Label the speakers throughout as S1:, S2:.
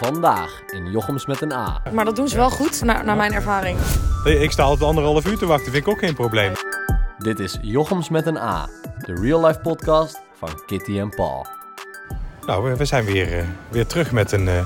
S1: Vandaag in Jochems met een A.
S2: Maar dat doen ze wel goed, naar, naar mijn ervaring.
S3: Nee, ik sta altijd anderhalf uur te wachten, vind ik ook geen probleem.
S1: Dit is Jochems met een A, de real life podcast van Kitty en Paul.
S3: Nou, we- we zijn weer, eh, weer terug met een, eh,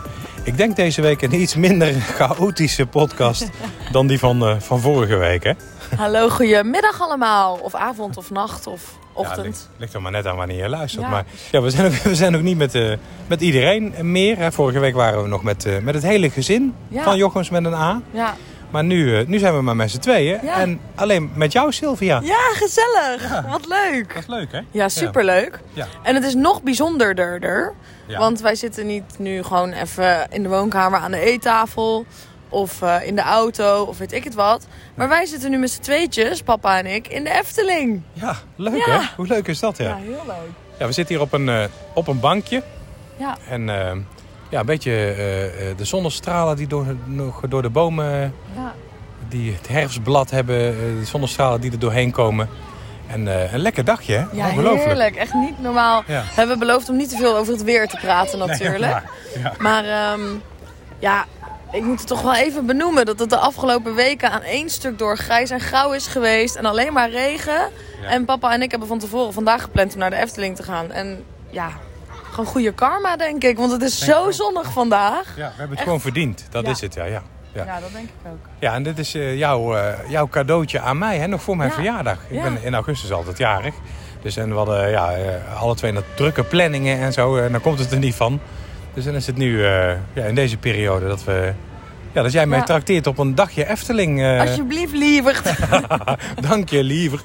S3: ik denk deze week een iets minder chaotische podcast dan die van, eh, van vorige week. Hè?
S2: Hallo, goedemiddag allemaal. Of avond, of nacht, of
S3: Ja,
S2: ochtend.
S3: ligt, ligt er maar net aan wanneer je luistert.
S2: Ja.
S3: Maar ja, we, zijn ook, we zijn ook niet met, eh, met iedereen meer. Hè? Vorige week waren we nog met, eh, met het hele gezin
S2: Ja.
S3: van Jochems met een A.
S2: Ja,
S3: Maar nu, eh, nu zijn we maar met z'n tweeën.
S2: Ja.
S3: En alleen met jou, Sylvia.
S2: ja gezellig. Wat leuk.
S3: Dat is leuk, hè?
S2: Ja, superleuk.
S3: Ja.
S2: En het is nog bijzonderder.
S3: Ja.
S2: Want wij zitten niet nu gewoon even in de woonkamer aan de eettafel. Of eh, in de auto, of weet ik het wat. Maar wij zitten nu met z'n tweetjes, papa en ik, in de Efteling.
S3: Ja, leuk
S2: Ja.
S3: hè? Hoe leuk is dat, ja?
S2: heel leuk.
S3: Ja, we zitten hier op een, eh, op een bankje.
S2: Ja.
S3: En eh, ja, een beetje eh, eh, de zonnestralen die door, nog door de bomen, eh,
S2: Ja.
S3: die het herfstblad hebben, eh, de zonnestralen die er doorheen komen. En eh, een lekker dagje, hè?
S2: Ja,
S3: Ongelooflijk.
S2: heerlijk. Echt niet normaal.
S3: Ja.
S2: We hebben beloofd om niet te veel over het weer te praten natuurlijk.
S3: ja.
S2: Maar ehm, ja, ik moet het toch wel even benoemen dat het de afgelopen weken aan één stuk door grijs en grauw is geweest. En alleen maar regen.
S3: Ja.
S2: En papa en ik hebben van tevoren vandaag gepland om naar de Efteling te gaan. En ja, gewoon goede karma denk ik. Want het is
S3: Denk ik
S2: zo
S3: ook.
S2: zonnig vandaag.
S3: Ja, we hebben het gewoon verdiend. Dat
S2: Ja.
S3: is het, ja. ja. Ja.
S2: dat denk ik ook.
S3: Ja, en dit is eh, jouw, eh, jouw cadeautje aan mij, hè? nog voor mijn
S2: Ja.
S3: verjaardag. Ik
S2: Ja.
S3: ben in augustus altijd jarig. Dus en we hadden ja, eh, alle twee nog drukke planningen en zo. En dan komt het er niet van. Dus dan is het nu eh, ja, in deze periode dat we... Ja, dat jij mij
S2: Ja.
S3: trakteert op een dagje Efteling. eh,
S2: Alsjeblieft, lieverd.
S3: Dank je, liever.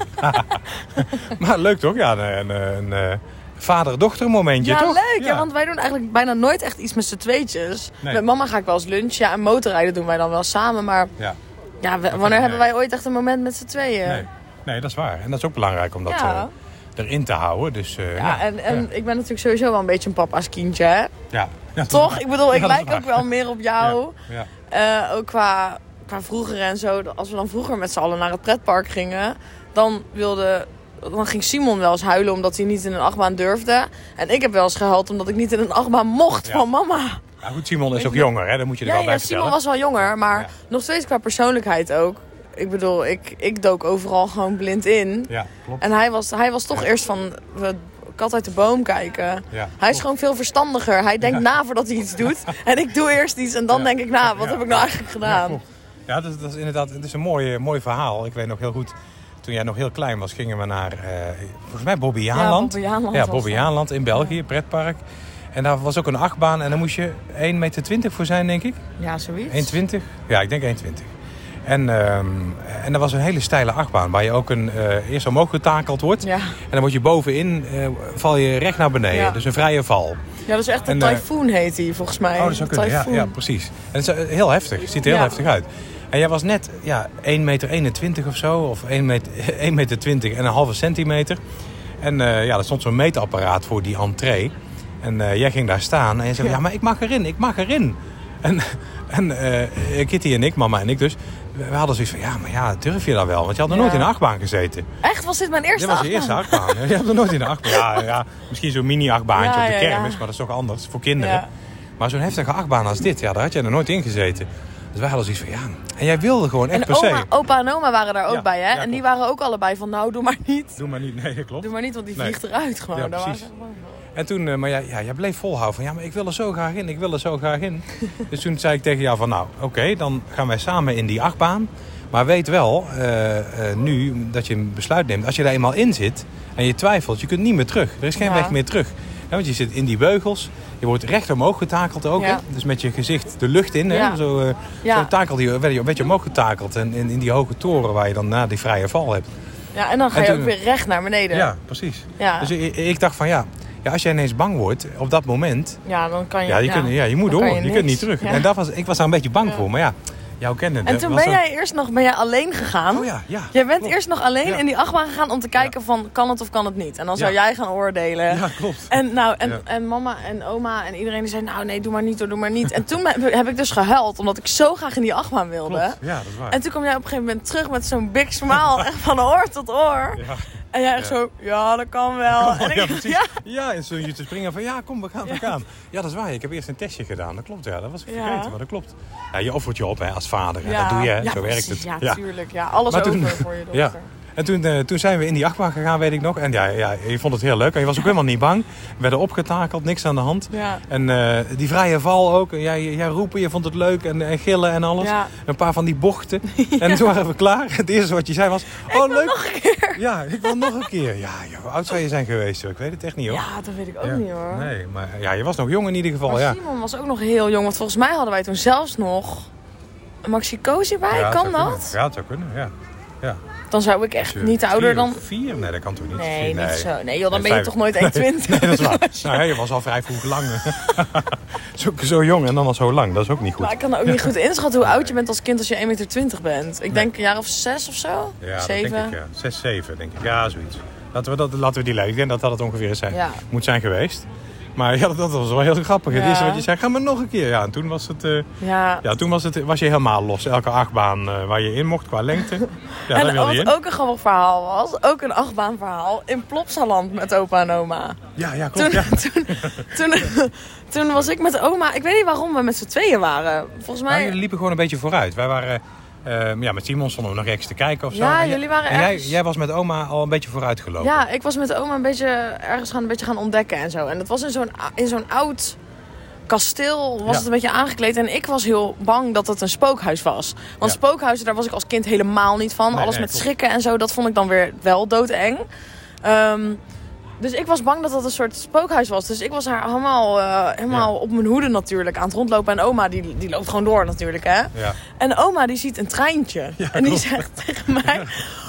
S3: maar leuk toch? Ja, een, een, een eh, vader-dochter momentje,
S2: ja,
S3: toch?
S2: leuk. Ja. want wij doen eigenlijk bijna nooit echt iets met z'n tweetjes.
S3: Nee.
S2: Met mama ga ik wel eens lunchen. Ja, en motorrijden doen wij dan wel samen. Maar
S3: Ja.
S2: ja, we- wanneer
S3: nee.
S2: hebben wij ooit echt een moment met z'n tweeën?
S3: Nee. nee, dat is waar. En dat is ook belangrijk om dat
S2: Ja.
S3: eh, erin te houden. Dus, eh,
S2: Ja, en, en ik ben natuurlijk sowieso wel een beetje een papa's kindje, hè?
S3: Ja. Ja, dat is
S2: Toch?
S3: waar.
S2: Ik bedoel, ik
S3: Ja, dat is
S2: lijk ook
S3: waar.
S2: wel meer op jou.
S3: Ja, ja.
S2: Eh, ook qua, qua vroeger en zo. Als we dan vroeger met z'n allen naar het pretpark gingen, dan wilde... Dan ging Simon wel eens huilen omdat hij niet in een achtbaan durfde. En ik heb wel eens gehuild omdat ik niet in een achtbaan mocht
S3: Ja.
S2: van mama.
S3: Maar Nou goed, Simon is ook jonger, hè? Dat moet je er
S2: Ja,
S3: wel bij
S2: ja
S3: vertellen.
S2: Simon was wel jonger, maar
S3: Ja.
S2: nog steeds qua persoonlijkheid ook. Ik bedoel, ik, ik dook overal gewoon blind in.
S3: Ja, klopt.
S2: En hij was, hij was toch eerst van we, kat uit de boom kijken.
S3: Ja,
S2: Ah, Hij is gewoon veel verstandiger. Hij denkt na voordat hij iets doet. En ik doe eerst iets en dan
S3: Ja.
S2: denk ik na, wat
S3: Ja.
S2: heb ik nou eigenlijk
S3: Ja,
S2: gedaan?
S3: klopt. ja dat, is- dat is inderdaad het is een mooi, eh, mooi verhaal. Ik weet nog heel goed, toen jij nog heel klein was, gingen we naar, eh, volgens mij, Bobby Jaanland.
S2: Bobby Jaanland
S3: Ja,
S2: was
S3: Bobby
S2: dat.
S3: Jaanland in België, pretpark. En daar was ook een achtbaan en daar moest je 1,20 meter voor zijn, denk ik.
S2: Ja, zoiets.
S3: 1,20? Ja, ik denk 1,20. En, ehm en dat was een hele steile achtbaan waar je ook een, eh, eerst omhoog getakeld wordt.
S2: Ja.
S3: En dan word je bovenin, eh, val je recht naar beneden.
S2: Ja.
S3: Dus een vrije val.
S2: Ja, dat is echt een
S3: En, eh,
S2: tyfoon heet hij volgens mij.
S3: Oh, dat zou kunnen. Ja,
S2: Tyfoon.
S3: ja, precies. En het is eh, heel heftig. Het ziet er heel
S2: Ja.
S3: heftig uit. En jij was net ja, 1,21 meter of zo. Of 1 meter, 1 meter 20 en een halve centimeter. En eh, ja, er stond zo'n meetapparaat voor die entree. En eh, jij ging daar staan en je zei, ja. maar ik mag erin, ik mag erin. En, en eh, Kitty en ik, mama en ik dus, we we hadden zoiets van, ja, maar ja, durf je dat wel? Want je had nog
S2: Ja.
S3: nooit in een achtbaan gezeten.
S2: Echt, was dit mijn eerste
S3: Dit was de eerste
S2: achtbaan?
S3: achtbaan. hè? Je hebt er nooit in een achtbaan. Ja, ja, misschien zo'n mini-achtbaantje
S2: Ja,
S3: op de
S2: ja,
S3: kermis,
S2: ja.
S3: maar dat is toch anders voor kinderen.
S2: Ja.
S3: Maar zo'n heftige achtbaan als dit, ja, daar had jij er nooit in gezeten. Dus wij hadden zoiets van, ja, en jij wilde gewoon echt
S2: En
S3: per se.
S2: oma, opa en oma waren daar ook
S3: Ja,
S2: bij, hè?
S3: ja,
S2: en die
S3: klopt.
S2: waren ook allebei van, nou, doe maar niet.
S3: Doe maar niet, nee, dat klopt.
S2: Doe maar niet, want die
S3: Nee.
S2: vliegt eruit gewoon.
S3: Ja,
S2: Daar waren
S3: precies.
S2: ze gewoon van.
S3: En toen, eh, maar jij, ja, jij bleef volhouden van, ja, maar ik wil er zo graag in, ik wil er zo graag in. dus toen zei ik tegen jou van, nou, oké, dan gaan wij samen in die achtbaan. Maar weet wel, eh, eh, nu dat je een besluit neemt, als je daar eenmaal in zit en je twijfelt, je kunt niet meer terug. Er is geen
S2: Ja.
S3: weg meer terug. Ja, want je zit in die beugels, je wordt recht omhoog getakeld ook.
S2: Ja.
S3: hè? Dus met je gezicht de lucht in, hè?
S2: Ja.
S3: Zo, eh,
S2: Ja.
S3: zo takelde je, werd je een beetje omhoog getakeld. En in, in die hoge toren waar je dan na die vrije val hebt.
S2: Ja, en dan ga
S3: En
S2: je
S3: toen-
S2: ook weer recht naar beneden.
S3: Ja, precies.
S2: Ja.
S3: Dus ik, ik dacht van, ja, ja, als jij ineens bang wordt op dat moment,
S2: Ja, dan kan je...
S3: ja, je, Kunt, ja, je moet
S2: dan
S3: door.
S2: kan
S3: Je, kunt
S2: niks.
S3: niet terug.
S2: Ja.
S3: En dat was, ik was daar een beetje bang voor. Maar ja, jou kende
S2: En toen ben jij eerst nog ben jij alleen gegaan.
S3: Oh ja, ja.
S2: Jij bent
S3: Klopt.
S2: eerst nog alleen
S3: Ja.
S2: in die achtbaan gegaan om te kijken van kan het of kan het niet. En dan zou
S3: Ja.
S2: jij gaan oordelen.
S3: Ja, klopt.
S2: En, nou, en,
S3: Ja.
S2: en mama en oma en iedereen die zei nou nee doe maar niet hoor, doe maar niet. En toen heb- heb ik dus gehuild omdat ik zo graag in die achtbaan wilde.
S3: Klopt. Ja, dat is waar.
S2: En toen kwam jij op een gegeven moment terug met zo'n big smile echt van oor tot oor.
S3: Ja.
S2: En jij echt
S3: Ja.
S2: zo, ja, dat kan wel. en ik,
S3: ja, precies.
S2: Ja,
S3: Ja. en zo je te springen van ja, kom, we gaan, we gaan. Ja, dat is waar. Ik heb eerst een testje gedaan. Dat klopt, ja. Dat was ik
S2: Ja.
S3: vergeten, maar dat klopt. Ja, je offert je op hè, als vader. hè. Dat doe je, hè.
S2: Ja,
S3: zo werkt
S2: precies.
S3: het.
S2: Ja, tuurlijk. Ja, alles
S3: Maar
S2: over
S3: toen-
S2: voor je dochter.
S3: Ja. En toen, eh, toen zijn we in die achtbaan gegaan, weet ik nog. En ja, ja, je vond het heel leuk. En je was ook helemaal niet bang. We werden opgetakeld, niks aan de hand.
S2: Ja.
S3: En eh, die vrije val ook. En Jij, jij roepen, je vond het leuk. En, en gillen en alles.
S2: Ja.
S3: Een paar van die bochten. En toen waren we klaar. Het eerste wat je zei was... Oh, leuk. Nog een keer. Ja, ik wil nog een keer. Ja, joh, hoe oud zou je zijn geweest? joh? Ik weet het echt niet, hoor.
S2: Ja, dat weet ik ook
S3: Ja.
S2: niet hoor.
S3: Nee, maar ja, je was nog jong in ieder geval.
S2: Maar
S3: Oh, ja.
S2: Simon was ook nog heel jong, want volgens mij hadden wij toen zelfs nog een Maxi Coos erbij.
S3: Ja, het
S2: kan
S3: zou kunnen.
S2: dat?
S3: Ja, het zou kunnen, ja. ja.
S2: Dan zou ik echt
S3: Als je
S2: niet
S3: vier
S2: ouder
S3: of
S2: dan.
S3: Vier? Nee, dat kan toch niet?
S2: Nee,
S3: Vier,
S2: niet zo. Nee, joh, dan ben
S3: Nee,
S2: je
S3: vijf.
S2: toch nooit 1,20.
S3: Nee, dat is waar. Nou, hè, je was al vrij vroeg lang. zo, zo jong en dan al zo lang, dat is ook niet
S2: Maar
S3: goed.
S2: ik kan ook niet goed inschatten hoe oud je bent als kind als je 1,20 meter bent. Ik denk een jaar of zes of zo.
S3: Ja, dat denk
S2: Zeven.
S3: ik, ja. Zes, zeven, denk ik. Ja, zoiets. Laten we, dat, laten we die leiden. Ik denk dat dat het ongeveer is zijn,
S2: Ja.
S3: moet zijn geweest. Maar ja, dat, dat was wel heel grappig. Het
S2: Ja.
S3: eerste wat je zei, ga maar nog een keer. Ja, en toen was het... eh,
S2: Ja.
S3: ja, toen was, het, was je helemaal los. Elke achtbaan eh, waar je in mocht qua lengte. Ja, daar
S2: en
S3: wilde je
S2: wat
S3: in.
S2: ook een grappig verhaal was, ook een achtbaanverhaal, in Plopsaland met opa en oma.
S3: Ja, ja, klopt.
S2: Toen,
S3: Ja.
S2: toen, toen, toen was ik met oma, ik weet niet waarom we met z'n tweeën waren. Volgens
S3: Maar
S2: mij,
S3: jullie liepen gewoon een beetje vooruit. Wij waren, eh, ja, met Simon stonden we nog rechts te kijken of zo.
S2: Ja,
S3: En jij-
S2: jullie waren
S3: en jij,
S2: ergens-
S3: jij was met oma al een beetje vooruit gelopen.
S2: ja, ik was met oma een beetje ergens gaan, een beetje gaan ontdekken en zo. En dat was in zo'n, in zo'n oud kasteel, was
S3: Ja.
S2: het een beetje aangekleed. En ik was heel bang dat het een spookhuis was. Want
S3: Ja.
S2: spookhuizen, daar was ik als kind helemaal niet van.
S3: Nee,
S2: Alles
S3: nee,
S2: met
S3: klopt.
S2: schrikken en zo, dat vond ik dan weer wel doodeng. Ehm, dus ik was bang dat dat een soort spookhuis was. Dus ik was haar helemaal, eh, helemaal
S3: Ja.
S2: op mijn hoede natuurlijk aan het rondlopen. En oma die, die loopt gewoon door natuurlijk hè.
S3: Ja.
S2: En oma die ziet een treintje. en die
S3: klopt.
S2: zegt tegen mij...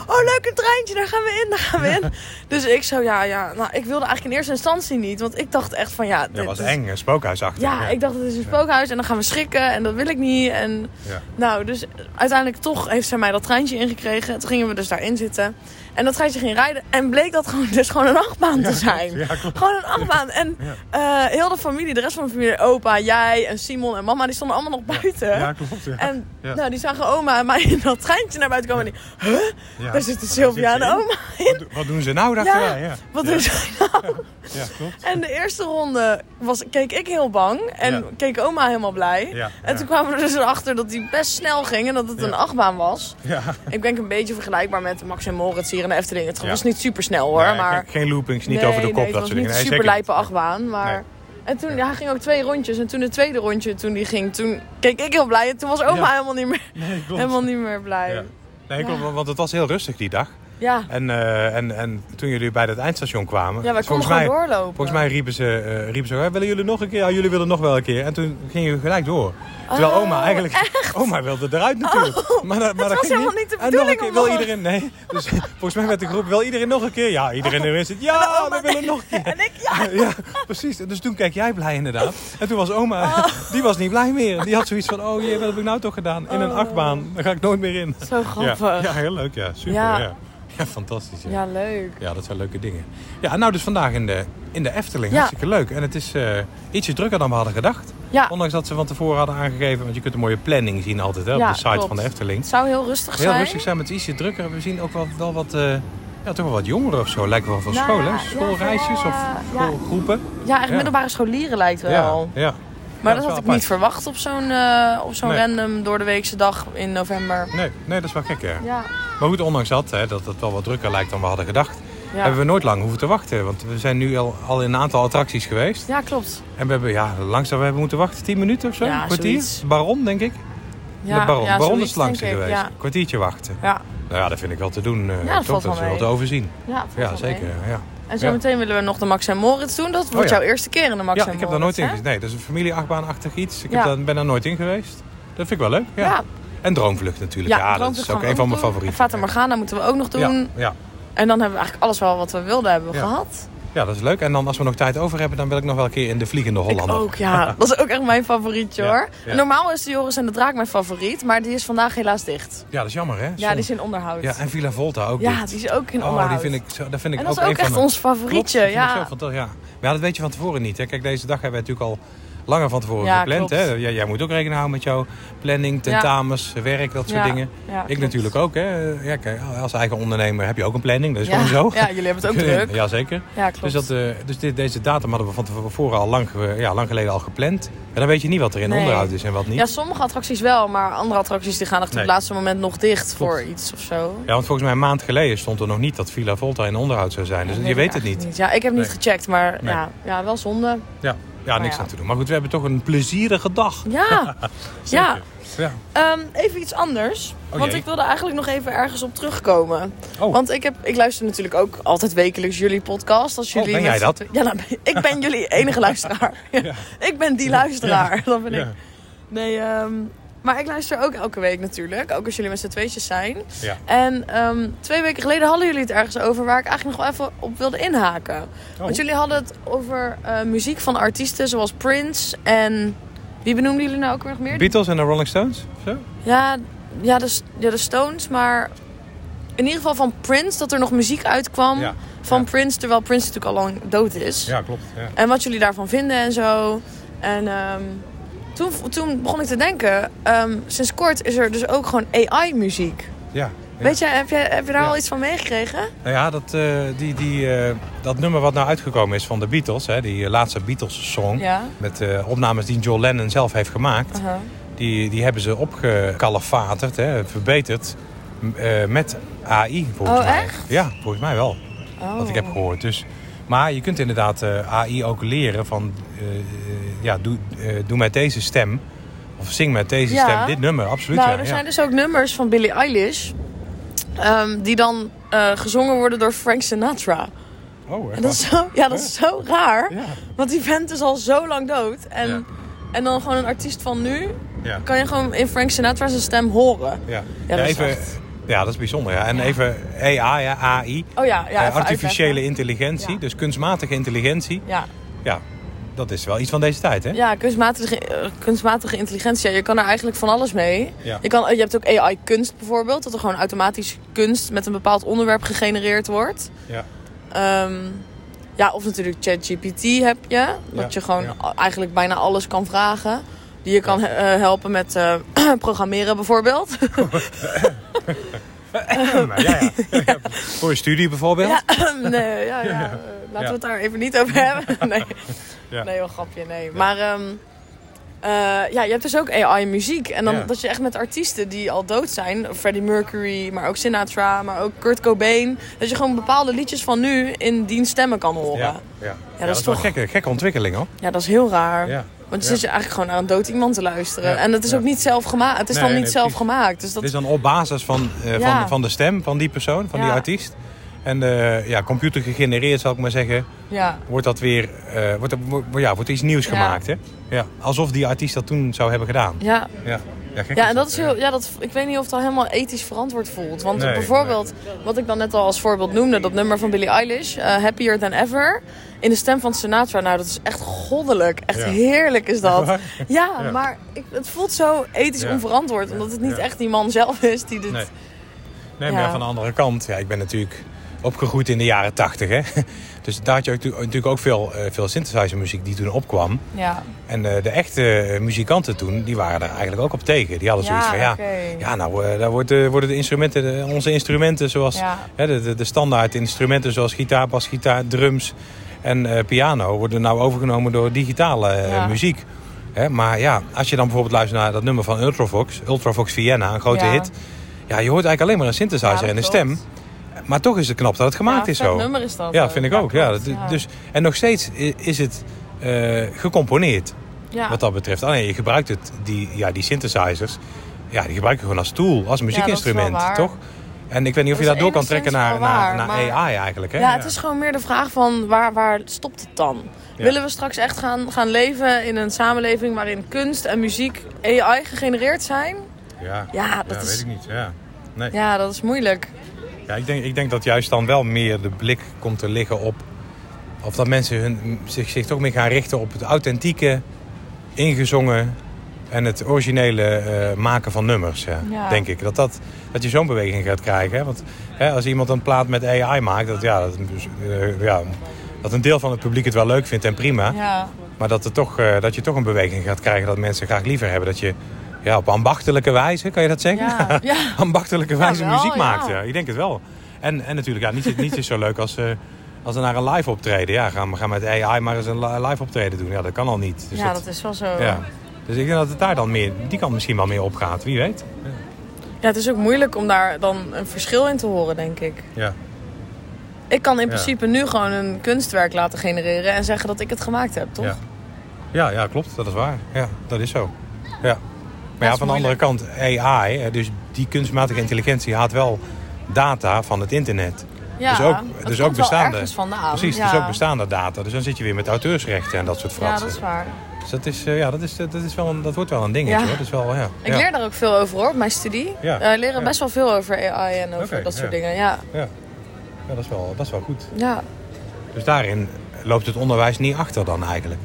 S2: Oh, leuk een treintje, daar gaan we in, daar gaan we in. Dus ik zo, ja, ja. Nou, ik wilde eigenlijk in eerste instantie niet. Want ik dacht echt van, ja...
S3: Ja,
S2: dit
S3: was
S2: is-
S3: eng, een spookhuisachtig.
S2: Ja, ik dacht, het is een spookhuis en dan gaan we schrikken. En dat wil ik niet. En
S3: Ja.
S2: nou, dus uiteindelijk toch heeft zij mij dat treintje ingekregen. Toen gingen we dus daarin zitten. En dat treintje ging rijden. En bleek dat gewoon, dus gewoon een achtbaan te zijn.
S3: Ja, klopt.
S2: Gewoon een achtbaan. En eh, heel de familie, de rest van de familie, opa, jij en Simon en mama, die stonden allemaal nog buiten.
S3: Ja, klopt. Ja.
S2: En
S3: Ja.
S2: nou, die zagen oma en mij in dat treintje naar buiten komen. En die, huh?
S3: Ja.
S2: Daar zitten
S3: Wat
S2: Sylvia
S3: zit
S2: en
S3: ze in?
S2: oma
S3: Wat,
S2: in.
S3: do- wat doen ze nou, dachten
S2: Ja,
S3: wij. Ja.
S2: Wat
S3: ja.
S2: doen ze nou?
S3: Ja, klopt.
S2: En de eerste ronde was, keek ik heel bang en
S3: Ja.
S2: keek oma helemaal blij.
S3: Ja,
S2: en
S3: ja.
S2: toen kwamen we er dus achter dat die best snel ging en dat het
S3: Ja.
S2: een achtbaan was.
S3: Ja.
S2: Ik denk een beetje vergelijkbaar met Max en Moritz hier in de Efteling. Het
S3: Ja.
S2: was niet super snel hoor,
S3: Nee,
S2: maar...
S3: geen- Geen loopings, niet
S2: Nee,
S3: over de kop,
S2: nee, het
S3: dat
S2: was
S3: soort dingen.
S2: niet
S3: Nee,
S2: super
S3: zeker niet.
S2: lijpe achtbaan, maar...
S3: Nee.
S2: En toen, ja, hij ging ook twee rondjes. En toen het tweede rondje, toen die ging, toen keek ik heel blij. En toen was oma
S3: Ja.
S2: helemaal, niet meer,
S3: Nee, klopt.
S2: helemaal niet meer blij.
S3: Ja.
S2: Ja.
S3: Nee, klopt, want het was heel rustig die dag.
S2: ja.
S3: En, eh, en, en toen jullie bij het eindstation kwamen...
S2: wij konden
S3: volgens
S2: gewoon
S3: mij,
S2: doorlopen.
S3: Volgens mij riepen ze, eh, riepen ze "Hey, willen jullie nog een keer? Ja, jullie willen nog wel een keer. En toen gingen we gelijk door. Terwijl
S2: Oh,
S3: oma eigenlijk... Oma wilde eruit natuurlijk. maar, dat- maar
S2: was
S3: ging
S2: helemaal niet de
S3: En nog een
S2: bedoeling
S3: keer,
S2: om
S3: wil
S2: nog-
S3: iedereen... Nee. Dus volgens mij werd de groep, wil iedereen nog een keer? Ja, iedereen erin zit. Ja,
S2: Oh,
S3: we willen nog een keer.
S2: En ik, ja,
S3: Ja, precies. Dus toen keek jij blij inderdaad. En toen was oma,
S2: Oh.
S3: die was niet blij meer. Die had zoiets van, oh jee, wat heb ik nou toch gedaan? In een achtbaan, daar ga ik nooit meer in.
S2: Oh. zo grappig.
S3: Ja, ja heel leuk. Ja, super.
S2: Ja.
S3: Ja, ja. fantastisch. Ja.
S2: Ja, leuk.
S3: Ja, dat zijn leuke dingen. Ja, nou dus vandaag in de, in de Efteling.
S2: Ja.
S3: Hartstikke leuk. En het is eh, ietsje drukker dan we hadden gedacht.
S2: Ja,
S3: Ondanks dat ze van tevoren hadden aangegeven, want je kunt een mooie planning zien altijd hè, op
S2: Ja,
S3: de site
S2: klopt.
S3: van de Efteling.
S2: het zou heel rustig
S3: Heel
S2: zijn.
S3: rustig zijn, met ietsje drukker. We zien ook wel, wel wat, eh, ja, toch wel wat jongeren of zo. Lijken wel van
S2: Nou
S3: school,
S2: ja,
S3: hè?
S2: ja,
S3: Schoolreisjes
S2: ja,
S3: of
S2: ja.
S3: schoolgroepen.
S2: Ja, echt
S3: Ja.
S2: middelbare scholieren lijkt wel.
S3: ja. ja.
S2: Maar
S3: Ja,
S2: dat
S3: dat
S2: had
S3: is
S2: ik
S3: wel
S2: niet verwacht op zo'n eh, op zo'n
S3: Nee.
S2: random door de weekse dag in november.
S3: Nee, nee, dat is wel gek, hè?
S2: Ja.
S3: Maar goed, ondanks dat, hè, dat het wel wat drukker lijkt dan we hadden gedacht,
S2: Ja.
S3: hebben we nooit lang hoeven te wachten. Want we zijn nu al, al in een aantal attracties geweest.
S2: ja, klopt.
S3: En we hebben ja, langzaam we hebben moeten wachten, 10 minuten of zo,
S2: Ja,
S3: een kwartier.
S2: zoiets.
S3: Baron, denk ik.
S2: Ja,
S3: de baron,
S2: ja,
S3: baron
S2: zoiets,
S3: is langs
S2: denk ik,
S3: geweest.
S2: Ja,
S3: Een kwartiertje wachten.
S2: ja.
S3: Nou ja, dat vind ik wel te doen. eh,
S2: Ja, dat
S3: toch?
S2: valt
S3: dat
S2: wel
S3: is wel
S2: mee.
S3: te overzien.
S2: ja, valt wel
S3: Ja,
S2: mee.
S3: zeker. Ja.
S2: En
S3: Ja. Oh
S2: zometeen willen we nog de Max en Moritz doen. Dat wordt
S3: ja.
S2: jouw eerste keer in de Max
S3: ja,
S2: en
S3: ik heb daar nooit
S2: Moritz,
S3: in
S2: hè?
S3: gezeten. Nee, dat is een familieachtbaanachtig iets. Ik
S2: Ja.
S3: heb daar, ben daar nooit in geweest. Dat vind ik wel leuk. Ja.
S2: Ja.
S3: En Droomvlucht natuurlijk.
S2: Ja,
S3: Ja, dat
S2: Droomvlucht
S3: is
S2: gaan
S3: ook
S2: we
S3: een van mijn
S2: doen.
S3: favorieten.
S2: Fata Morgana moeten we ook nog
S3: ja,
S2: doen.
S3: ja.
S2: En dan hebben we eigenlijk alles wel wat we wilden hebben
S3: Ja.
S2: gehad.
S3: ja, dat is leuk. En dan als we nog tijd over hebben, dan wil ik nog wel een keer in de Vliegende Hollander.
S2: Ik ook, ja. Dat is ook echt mijn favorietje
S3: Ja,
S2: hoor.
S3: ja.
S2: Normaal is de Joris en de Draak mijn favoriet, maar die is vandaag helaas dicht.
S3: Ja, dat is jammer hè.
S2: Ja, die is in onderhoud.
S3: ja en Villa Volta ook.
S2: Ja,
S3: dicht.
S2: die is ook in
S3: Oh,
S2: onderhoud.
S3: die vind ik, zo- dat vind ik
S2: en
S3: ook,
S2: dat is ook
S3: een van
S2: echt
S3: de-
S2: ons
S3: Klopt,
S2: favorietje.
S3: dat vind ik
S2: ja.
S3: zo fantastisch, ja. Maar ja, dat weet je van tevoren niet. Hè. Kijk, deze dag hebben we natuurlijk al langer van tevoren
S2: Ja,
S3: gepland.
S2: klopt.
S3: Hè? Jij, jij moet ook rekening houden met jouw planning, tentamens, werk, dat soort
S2: Ja,
S3: dingen.
S2: ja,
S3: ik
S2: klopt.
S3: natuurlijk ook. Hè? Ja, kijk, als eigen ondernemer heb je ook een planning. Dat is
S2: ja.
S3: gewoon zo.
S2: Ja, jullie hebben het ook druk.
S3: Ja, zeker.
S2: Ja, klopt.
S3: Dus, dat, eh, dus dit, deze datum hadden we van tevoren al lang, ge- ja, lang geleden al gepland. En dan weet je niet wat er in
S2: Nee.
S3: onderhoud is en wat niet.
S2: Ja, sommige attracties wel, maar andere attracties die gaan echt op
S3: Nee.
S2: het laatste moment nog dicht voor iets of zo.
S3: Ja, want volgens mij een maand geleden stond er nog niet dat Villa Volta in onderhoud zou zijn. Dus
S2: Dat
S3: je
S2: weet ik
S3: weet het
S2: eigenlijk
S3: niet.
S2: Ja, ik heb niet
S3: Nee.
S2: gecheckt, maar
S3: Nee.
S2: ja, ja, wel zonde.
S3: Ja, ja niks
S2: Nou ja.
S3: aan te doen. Maar goed, we hebben toch een plezierige dag.
S2: Ja, ja.
S3: Ja.
S2: Ehm, even iets anders.
S3: Oh,
S2: want
S3: jee.
S2: ik wilde eigenlijk nog even ergens op terugkomen.
S3: Oh.
S2: Want ik, heb, ik luister natuurlijk ook altijd wekelijks jullie podcast. Als
S3: Oh,
S2: jullie
S3: ben jij
S2: met-
S3: dat?
S2: Ja, nou, ik ben jullie enige luisteraar. Ik ben die luisteraar. Dat ben ik.
S3: Ja.
S2: Nee, ehm, maar ik luister ook elke week natuurlijk. Ook als jullie met z'n tweetjes zijn.
S3: Ja.
S2: En ehm, twee weken geleden hadden jullie het ergens over waar ik eigenlijk nog wel even op wilde inhaken.
S3: Oh.
S2: Want jullie hadden het over eh, muziek van artiesten zoals Prince en... Wie benoemden jullie nou ook weer nog meer?
S3: Beatles en de Rolling Stones? of Zo?
S2: Ja, ja, de, ja, de Stones, maar in ieder geval van Prince, dat er nog muziek uitkwam
S3: Ja,
S2: van
S3: ja.
S2: Prince, terwijl Prince natuurlijk al lang dood is.
S3: Ja, klopt. Ja.
S2: En wat jullie daarvan vinden en zo. En ehm, toen, toen begon ik te denken, ehm, sinds kort is er dus ook gewoon AI-muziek.
S3: Ja, ja.
S2: Weet je, heb je, heb je daar
S3: Ja.
S2: al iets van meegekregen?
S3: Nou ja, dat, eh, die, die, eh, dat nummer wat nou uitgekomen is van de Beatles, hè, die eh, laatste Beatles-song.
S2: Ja.
S3: Met eh, opnames die John Lennon zelf heeft gemaakt.
S2: Uh-huh.
S3: Die, die hebben ze opgekalefaterd, hè, verbeterd. m- eh, met AI, volgens
S2: Oh,
S3: mij.
S2: echt?
S3: Ja, volgens mij wel.
S2: Oh.
S3: Wat ik heb gehoord. Dus, maar je kunt inderdaad eh, AI ook leren van... eh, ja, doe, eh, doe met deze stem. Of zing met deze
S2: Ja.
S3: stem dit nummer, absoluut.
S2: Nou,
S3: ja,
S2: er
S3: ja.
S2: zijn dus ook nummers van Billie Eilish... ehm, die dan eh, gezongen worden door Frank Sinatra.
S3: Oh, echt
S2: En dat
S3: waar?
S2: is zo, ja, dat is zo raar.
S3: Ja.
S2: Want die vent is al zo lang dood. En,
S3: Ja.
S2: en dan gewoon een artiest van nu...
S3: Ja.
S2: kan je gewoon in Frank Sinatra zijn stem horen.
S3: Ja,
S2: Ja,
S3: Ja,
S2: dat is
S3: even,
S2: echt-
S3: ja, dat is bijzonder. Ja. En even AI, ja, AI
S2: Oh ja, ja
S3: eh,
S2: even
S3: artificiële
S2: uitleggen.
S3: intelligentie,
S2: Ja.
S3: dus kunstmatige intelligentie.
S2: Ja,
S3: Ja, dat is wel iets van deze tijd, hè?
S2: ja kunstmatige, eh, kunstmatige intelligentie. Ja, je kan er eigenlijk van alles mee.
S3: Ja.
S2: Je, kan, eh, je hebt ook AI-kunst bijvoorbeeld. Dat er gewoon automatisch kunst met een bepaald onderwerp gegenereerd wordt.
S3: Ja.
S2: Ehm, ja, of natuurlijk ChatGPT heb je. Dat
S3: Ja,
S2: je gewoon
S3: ja.
S2: a- eigenlijk bijna alles kan vragen. Die je kan eh, helpen met eh, programmeren bijvoorbeeld.
S3: Nou, ja, ja. Voor een studie bijvoorbeeld.
S2: Ja, nee, ja, ja, eh, laten
S3: Ja.
S2: we het daar even niet over hebben. Nee,
S3: Ja.
S2: nee wel grapje, nee. Maar ehm, eh, ja, je hebt dus ook AI-muziek. En dan
S3: Ja.
S2: dat je echt met artiesten die al dood zijn... Freddie Mercury, maar ook Sinatra, maar ook Kurt Cobain... dat je gewoon bepaalde liedjes van nu in die stemmen kan horen.
S3: Ja,
S2: Ja,
S3: ja. Ja,
S2: is
S3: dat is toch
S2: toch-
S3: gekke, gekke ontwikkeling, hoor.
S2: dat is heel raar.
S3: Ja.
S2: Want
S3: Ja.
S2: dan zit je eigenlijk gewoon naar een dood iemand te luisteren.
S3: Ja.
S2: En dat is
S3: Ja.
S2: ook niet zelf gemaakt. Het is
S3: Nee,
S2: dan niet
S3: nee,
S2: zelf
S3: precies.
S2: gemaakt. Dus dat...
S3: Het is dan op basis van, eh,
S2: Ja.
S3: van, van de stem van die persoon, van die
S2: Ja.
S3: artiest. En eh, ja, computer gegenereerd, zal ik maar zeggen,
S2: ja.
S3: wordt dat weer eh, wordt, er- wordt, ja, wordt er iets nieuws
S2: Ja.
S3: gemaakt, hè? Ja, alsof die artiest dat toen zou hebben gedaan.
S2: ja,
S3: Ja, ja, gek
S2: Ja, en dat is
S3: hè?
S2: heel, ja, dat, ik weet niet of het al helemaal ethisch verantwoord voelt. Want
S3: Nee,
S2: bijvoorbeeld, wat ik dan net al als voorbeeld noemde, dat nummer van Billie Eilish, eh, Happier Than Ever, in de stem van Sinatra. Nou, dat is echt goddelijk. Echt
S3: Ja.
S2: heerlijk is dat.
S3: waar?
S2: Ja,
S3: Ja.
S2: maar ik, het voelt zo ethisch
S3: Ja.
S2: onverantwoord, omdat het niet
S3: Ja.
S2: echt die man zelf is die dit...
S3: Nee. Nee,
S2: Ja.
S3: maar van de andere kant, ja, ik ben natuurlijk opgegroeid in de jaren tachtig. hè. Dus daar had je ook, natuurlijk ook veel, eh, veel synthesizer muziek die toen opkwam.
S2: Ja.
S3: En eh, de echte eh, muzikanten toen, die waren daar eigenlijk ook op tegen. Die hadden
S2: Ja,
S3: zoiets van, ja,
S2: oké.
S3: ja nou, eh, daar wordt, eh, worden de instrumenten, de- onze instrumenten zoals...
S2: Ja.
S3: Hè, de, de, de standaard instrumenten zoals gitaar, basgitaar, drums en eh, piano... worden nou overgenomen door digitale eh,
S2: Ja.
S3: muziek. Hè, maar ja, als je dan bijvoorbeeld luistert naar dat nummer van Ultravox... Ultravox Vienna, een grote
S2: Ja.
S3: hit... Ja, je hoort eigenlijk alleen maar een synthesizer
S2: Ja,
S3: en een
S2: dat
S3: stem.
S2: klopt.
S3: Maar toch is het knap dat het gemaakt
S2: Ja,
S3: is
S2: vet
S3: zo.
S2: nummer is dat
S3: Ja,
S2: ook.
S3: vind ik
S2: Ja,
S3: ook. Ja,
S2: klopt,
S3: dat-
S2: ja.
S3: Dus, en nog steeds i- is het eh, gecomponeerd
S2: Ja.
S3: wat dat betreft. Alleen je gebruikt het, die, ja, die synthesizers, ja, die gebruik je gewoon als tool, als muziekinstrument,
S2: waar.
S3: toch? En ik weet niet of je
S2: Dat
S3: dat
S2: is
S3: door kan trekken
S2: enigszins
S3: naar,
S2: wel
S3: naar,
S2: waar,
S3: naar
S2: maar-
S3: AI eigenlijk. Hè?
S2: Ja, het is gewoon meer de vraag van waar, waar stopt het dan?
S3: Ja.
S2: Willen we straks echt gaan, gaan leven in een samenleving waarin kunst en muziek AI gegenereerd zijn?
S3: ja.
S2: Ja, dat is-
S3: niet. Ja. Nee.
S2: Ja, dat is moeilijk.
S3: Ja, ik, denk, ik denk dat juist dan wel meer de blik komt te liggen op. Of dat mensen hun, zich, zich toch meer gaan richten op het authentieke, ingezongen en het originele eh, maken van nummers. Ja,
S2: Ja.
S3: Denk ik. Dat, dat, dat je zo'n beweging gaat krijgen. Hè? Want hè, als iemand een plaat met AI maakt, dat, ja, dat, eh, ja, dat een deel van het publiek het wel leuk vindt en prima.
S2: Ja.
S3: Maar dat, er toch, eh, dat je toch een beweging gaat krijgen dat mensen graag liever hebben dat je ja, op ambachtelijke wijze, kan je dat zeggen?
S2: Ja, ja.
S3: ambachtelijke wijze
S2: wel,
S3: muziek
S2: ja.
S3: maakt. Ja. Ik denk het wel. En, en natuurlijk, ja, niets, is- niets is zo leuk als, eh, als we naar een live optreden. Ja, gaan we gaan met AI maar eens een li- live optreden doen. Ja, dat kan al niet. Dus
S2: ja, dat is wel zo.
S3: ja. Dus ik denk dat het daar dan meer, die kant misschien wel meer opgaat. Wie weet.
S2: Ja, het is ook moeilijk om daar dan een verschil in te horen, denk ik.
S3: Ja.
S2: Ik kan in
S3: Ja.
S2: principe nu gewoon een kunstwerk laten genereren en zeggen dat ik het gemaakt heb, toch?
S3: Ja. Ja, ja, klopt. Dat is waar. Ja, dat is zo. Ja. Maar ja,
S2: is
S3: van de andere
S2: moeilijk.
S3: kant, AI, hè, dus die kunstmatige intelligentie haalt wel data van het internet.
S2: Ja,
S3: dus ook,
S2: dat
S3: dus
S2: komt
S3: ook
S2: wel
S3: bestaande.
S2: ergens vandaan,
S3: Precies,
S2: ja.
S3: dus ook bestaande data. Dus dan zit je weer met auteursrechten en dat soort
S2: Ja,
S3: fratsen.
S2: dat is waar.
S3: Dus dat, is, eh, ja, dat, is, eh, dat, is wel een, dat wordt wel een dingetje
S2: Ja.
S3: hoor. Dat is wel, ja.
S2: Ik
S3: ja.
S2: leer daar ook veel over hoor, op mijn studie.
S3: Ja.
S2: Eh, leren
S3: Ja.
S2: best wel veel over AI en over
S3: Oké,
S2: dat soort
S3: ja.
S2: dingen. Ja.
S3: Ja. Ja, dat is, wel, dat is wel goed.
S2: ja.
S3: Dus daarin loopt het onderwijs niet achter dan eigenlijk.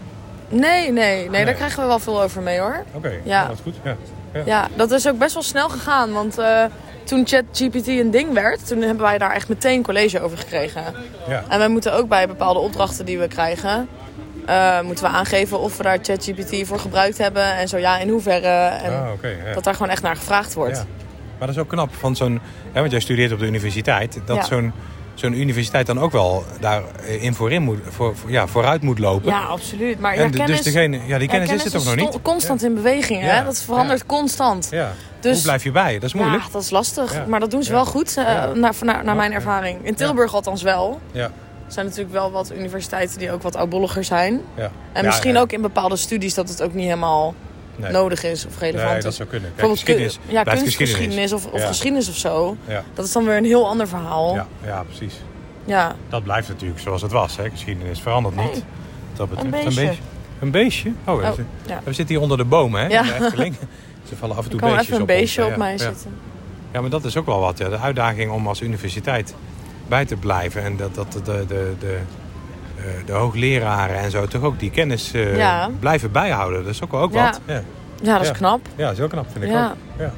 S2: Nee, nee, nee,
S3: Nee.
S2: daar krijgen we wel veel over mee hoor.
S3: Oké,
S2: Ja.
S3: dat is goed. Ja. Ja.
S2: Ja, dat is ook best wel snel gegaan, want eh, toen ChatGPT een ding werd, toen hebben wij daar echt meteen college over gekregen.
S3: Ja.
S2: En wij moeten ook bij bepaalde opdrachten die we krijgen, eh, moeten we aangeven of we daar ChatGPT voor gebruikt hebben en zo ja, in hoeverre. En
S3: Ah, oké, ja.
S2: dat daar gewoon echt naar gevraagd wordt.
S3: Ja. Maar dat is ook knap van zo'n. Hè, want jij studeert op de universiteit. Dat
S2: Ja.
S3: zo'n, zo'n universiteit dan ook wel daarin voorin moet, voor, voor- ja, vooruit moet lopen.
S2: Ja, absoluut. Maar
S3: en
S2: ja,
S3: d-
S2: kennis,
S3: dus degene, ja, die
S2: ja,
S3: kennis, is er toch nog
S2: sto-
S3: niet?
S2: constant in beweging,
S3: Ja.
S2: hè? Dat verandert constant.
S3: Ja.
S2: Dus-
S3: Hoe blijf je bij? Dat is moeilijk.
S2: Ja, dat is lastig.
S3: Ja.
S2: Maar dat doen ze
S3: Ja.
S2: wel goed, eh,
S3: Ja.
S2: naar, naar, naar mijn
S3: Ja.
S2: ervaring. In Tilburg althans wel.
S3: Ja.
S2: Er zijn natuurlijk wel wat universiteiten die ook wat oudbolliger zijn.
S3: Ja.
S2: En
S3: Ja,
S2: misschien
S3: ja.
S2: ook in bepaalde studies dat het ook niet helemaal
S3: Nee.
S2: nodig is of relevant
S3: Nee, dat
S2: is.
S3: zou kunnen. Kijk,
S2: Bijvoorbeeld kun-
S3: geschiedenis
S2: ja,
S3: blijft
S2: kunstgeschiedenis
S3: geschiedenis.
S2: of, of
S3: Ja.
S2: geschiedenis of zo.
S3: Ja.
S2: Dat is dan weer een heel ander verhaal.
S3: Ja, ja, precies.
S2: Ja.
S3: Dat blijft natuurlijk zoals het was. Hè. Geschiedenis verandert niet.
S2: Nee.
S3: Wat Dat betreft
S2: Een
S3: Een
S2: beestje.
S3: beestje. Een beestje? Oh,
S2: Oh,
S3: even-
S2: ja.
S3: we zitten hier onder de bomen, hè?
S2: Ja.
S3: in de Efteling. Ze vallen af en toe
S2: Er kwam
S3: beestjes
S2: even een
S3: op ons,
S2: beestje
S3: hè,
S2: op
S3: ja.
S2: mij
S3: Ja.
S2: zitten.
S3: Ja, maar dat is ook wel wat. Ja. De uitdaging om als universiteit bij te blijven. En dat, dat de, de, de, de, eh, de hoogleraren en zo toch ook die kennis eh,
S2: Ja.
S3: blijven bijhouden. Dat is ook wel ook
S2: Ja.
S3: wat. Ja.
S2: Ja, dat is
S3: Ja.
S2: knap.
S3: ja, dat is ook knap, vind ik
S2: Ja.
S3: ook. Ja.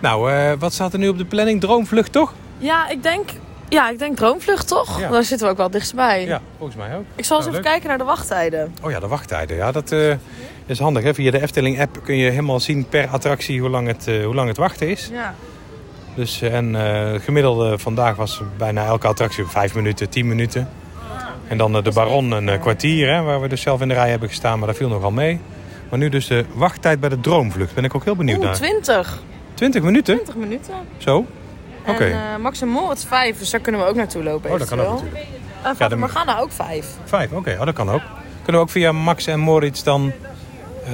S3: Nou, eh, wat staat er nu op de planning? Droomvlucht, toch?
S2: Ja, ik denk, ja, ik denk droomvlucht toch?
S3: Ja.
S2: Daar zitten we ook wel dichtstbij.
S3: Ja, volgens mij ook.
S2: Ik zal eens
S3: Nou,
S2: even
S3: leuk.
S2: kijken naar de wachttijden.
S3: Oh ja, de wachttijden. Ja, dat eh, is handig. Hè? Via de Efteling-app kun je helemaal zien per attractie hoe lang het, eh, hoe lang het wachten is.
S2: Ja.
S3: Dus, eh, en eh, het gemiddelde vandaag was bijna elke attractie op 5 minuten, 10 minuten. En dan eh, de Baron een eh, kwartier, hè, waar we dus zelf in de rij hebben gestaan, maar dat viel nogal mee. Maar nu dus de wachttijd bij de Droomvlucht. Ben ik ook heel benieuwd
S2: Oeh,
S3: naar.
S2: 20.
S3: 20 minuten?
S2: 20 minuten.
S3: Zo? Oké.
S2: En eh Max en Moritz 5, dus daar kunnen we ook naartoe lopen.
S3: oh, dat kan ook
S2: eventueel.
S3: natuurlijk.
S2: En
S3: Ja,
S2: Fata
S3: dan-
S2: Morgana ook 5.
S3: Vijf, oké. Oh, dat kan ook. Kunnen we ook via Max en Moritz dan eh,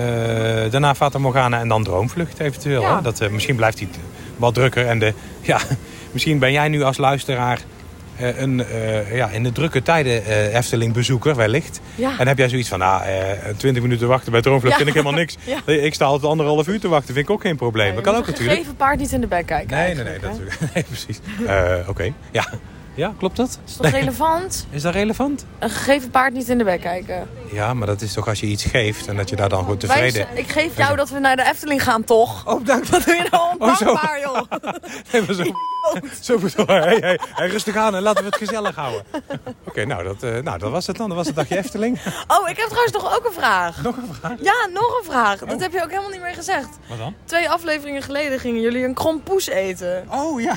S3: daarna Fata Morgana en dan Droomvlucht eventueel.
S2: Ja.
S3: Hè? Dat, eh, misschien blijft die t- wat drukker. En de, ja, misschien ben jij nu als luisteraar eh, een eh, ja, in de drukke tijden eh Efteling bezoeker wellicht.
S2: Ja.
S3: En heb jij zoiets van, nou, eh 20 minuten wachten bij Droomvlucht
S2: Ja.
S3: vind ik helemaal niks.
S2: Ja.
S3: Nee, Ik sta altijd anderhalf uur te wachten, vind ik ook geen probleem. dat kan ook natuurlijk.
S2: Gegeven paard niet in de bek kijken.
S3: Nee, nee, nee,
S2: eigenlijk,
S3: dat,
S2: hè?
S3: nee, precies. Eh, Oké, ja. Ja, klopt dat?
S2: Is toch relevant?
S3: Is dat relevant?
S2: Een gegeven paard niet in de bek kijken.
S3: Ja, maar dat is toch als je iets geeft en dat je daar dan goed
S2: Wij-
S3: tevreden...
S2: ik geef jou dat we naar de Efteling gaan, toch?
S3: Oh, dank
S2: Wat doe je nou ondankbaar, joh?
S3: Nee, maar zo, zo bedoel hey, hey, hey, rustig aan en laten we het gezellig houden. Oké, nou, dat, eh, nou, dat was het dan. Dat was het dagje Efteling.
S2: Oh, ik heb trouwens nog ook een vraag.
S3: Nog een vraag? Oh.
S2: Ja, nog een vraag. Dat heb je ook helemaal niet meer gezegd.
S3: Wat dan?
S2: Twee afleveringen geleden gingen jullie een krompoes eten.
S3: Oh, ja.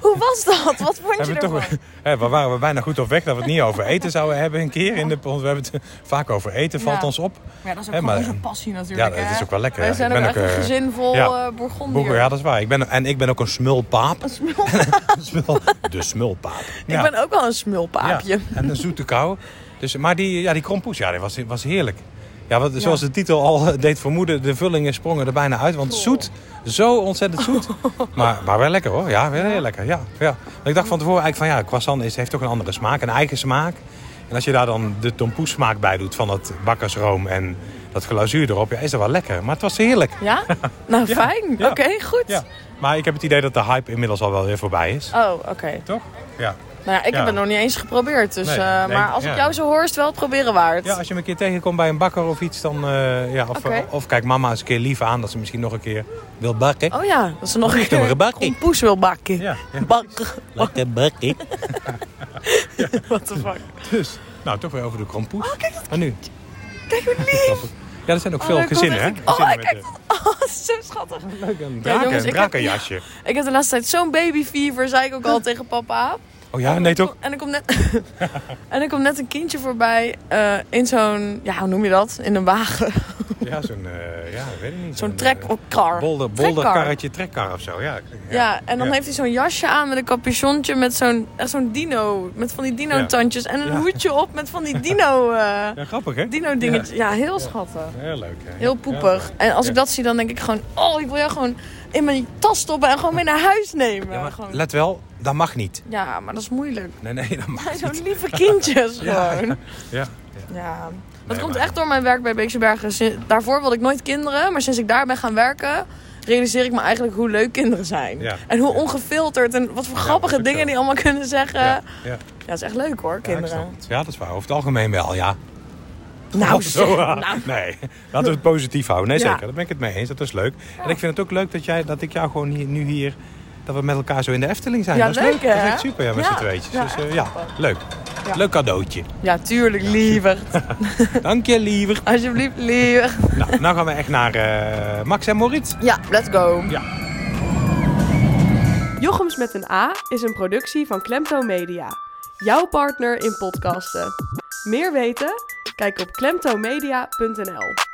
S2: Hoe was dat? Wat vond je
S3: Hebben we, toch,
S2: ervan?
S3: hè, waar waren we bijna goed op weg dat we het niet over eten zouden hebben een keer. In de, want we hebben het vaak over eten, valt
S2: Ja.
S3: ons op.
S2: Ja, dat is ook
S3: Hè,
S2: gewoon
S3: maar-
S2: onze passie natuurlijk.
S3: Ja, dat
S2: hè?
S3: is ook wel lekker,
S2: Wij
S3: ja.
S2: zijn
S3: Ik
S2: ook
S3: ben
S2: echt
S3: ook,
S2: een
S3: eh,
S2: gezin vol
S3: ja.
S2: eh, Bourgondier.
S3: Boeken, ja, dat is waar. Ik ben, en ik ben ook een smulpaap. Een smul- De smulpaap. Ja.
S2: Ik ben ook wel een smulpaapje.
S3: Ja, en een zoete kou. Dus, maar die, ja, die krompoes, ja, die was, was heerlijk. Ja, wat, zoals de titel al eh, deed vermoeden, de vullingen sprongen er bijna uit. Want zoet, zo ontzettend zoet. Maar, maar wel lekker hoor, ja, wel heel lekker. Ja, ja. Want ik dacht van tevoren eigenlijk van ja, croissant is, heeft toch een andere smaak, een eigen smaak. En als je daar dan de tompoes smaak bij doet van dat bakkersroom en dat glazuur erop, ja, is dat wel lekker. Maar het was heerlijk.
S2: Ja? Nou, fijn.
S3: ja.
S2: Oké, goed.
S3: Ja. Maar ik heb het idee dat de hype inmiddels al wel weer voorbij is.
S2: Oh, oké.
S3: Toch? Ja.
S2: Nou ja, ik
S3: Ja.
S2: heb het nog niet eens geprobeerd. Dus,
S3: Nee,
S2: eh,
S3: nee,
S2: maar als
S3: ja.
S2: ik jou zo hoor, is het wel het proberen waard.
S3: Ja, als je hem een keer tegenkomt bij een bakker of iets, dan... eh, ja, of,
S2: Oké.
S3: of kijk mama eens een keer lief aan dat ze misschien nog een keer wil bakken.
S2: Oh ja, dat ze nog een
S3: nog
S2: keer
S3: een bakkie.
S2: kompoes wil bakken.
S3: Ja, ja.
S2: Bakken.
S3: Lekker bakken.
S2: What the fuck. Oh,
S3: Dus, nou, toch weer over de krompoes. en nu?
S2: Kijk hoe lief.
S3: Ja, er zijn ook
S2: Oh,
S3: veel
S2: daar komt
S3: gezinnen, hè?
S2: echt een- oh,
S3: Gezinnen
S2: kijk,
S3: met,
S2: Oh, dat is zo schattig.
S3: eh, leuk, een
S2: Ja,
S3: draken,
S2: jongens,
S3: een
S2: ik heb-
S3: drakenjasje.
S2: Ik heb de laatste tijd zo'n babyfever, zei ik ook al tegen papa.
S3: Oh ja, nee toch?
S2: En er komt net, en er komt net een kindje voorbij eh, in zo'n, ja, hoe noem je dat? In een wagen.
S3: Ja, zo'n, eh, ja, weet ik niet.
S2: Zo'n
S3: eh,
S2: trekkar.
S3: Bolder, bolder
S2: Trekkar.
S3: karretje, trekkar of zo, ja.
S2: Ja, en dan
S3: Ja.
S2: heeft hij zo'n jasje aan met een capuchontje met zo'n echt zo'n dino, met van die dino tandjes en een
S3: Ja.
S2: hoedje op met van die dino eh
S3: Ja, grappig, hè?
S2: dino dingetjes. Ja, heel schattig.
S3: Heel leuk, hè?
S2: Heel
S3: Ja,
S2: poepig.
S3: ja.
S2: En als ik
S3: Ja.
S2: dat zie, dan denk ik gewoon... Oh, ik wil jou gewoon in mijn tas stoppen en gewoon mee naar huis nemen.
S3: Ja,
S2: Ja,
S3: maar
S2: gewoon.
S3: let wel, dat mag niet.
S2: ja maar dat is moeilijk.
S3: Nee, nee, dat mag
S2: Hij
S3: niet.
S2: zo'n lieve kindjes
S3: Ja,
S2: gewoon.
S3: Ja,
S2: Ja, dat
S3: Nee,
S2: komt
S3: maar-
S2: echt door mijn werk bij Beekse Bergen. Sin- Daarvoor wilde ik nooit kinderen, maar sinds ik daar ben gaan werken... realiseer ik me eigenlijk hoe leuk kinderen zijn.
S3: Ja.
S2: En hoe
S3: Ja.
S2: ongefilterd en wat voor grappige
S3: dat is ook
S2: dingen
S3: zo.
S2: die allemaal kunnen zeggen. Ja,
S3: ja, ja.
S2: dat is echt leuk hoor,
S3: Ja, ik snap
S2: Eh, kinderen.
S3: het. Ja, dat is waar. Over het algemeen wel, ja.
S2: nou,
S3: Of zo,
S2: zeg,
S3: ah.
S2: nou,
S3: Nee, laten we het positief houden. Nee,
S2: Ja.
S3: zeker. Daar ben ik het mee eens. Dat is leuk. En ik vind het ook leuk dat, jij, dat ik jou gewoon hier, nu hier... Dat we met elkaar zo in de Efteling zijn.
S2: Ja,
S3: dat is
S2: leuk,
S3: leuk. Dat is
S2: hè?
S3: echt super, ja, met
S2: Ja.
S3: z'n tweetjes.
S2: Ja,
S3: dus eh,
S2: echt
S3: ja,
S2: grappig.
S3: leuk.
S2: Ja.
S3: Leuk cadeautje.
S2: ja, tuurlijk, liever.
S3: Dank je, liever.
S2: Alsjeblieft, liever.
S3: nou, nou gaan we echt naar eh, Max en Moritz.
S2: Ja, let's go.
S4: Jochems met een A is een productie van Klemto Media. Jouw partner in podcasten. Meer weten? Kijk op klemtomedia.nl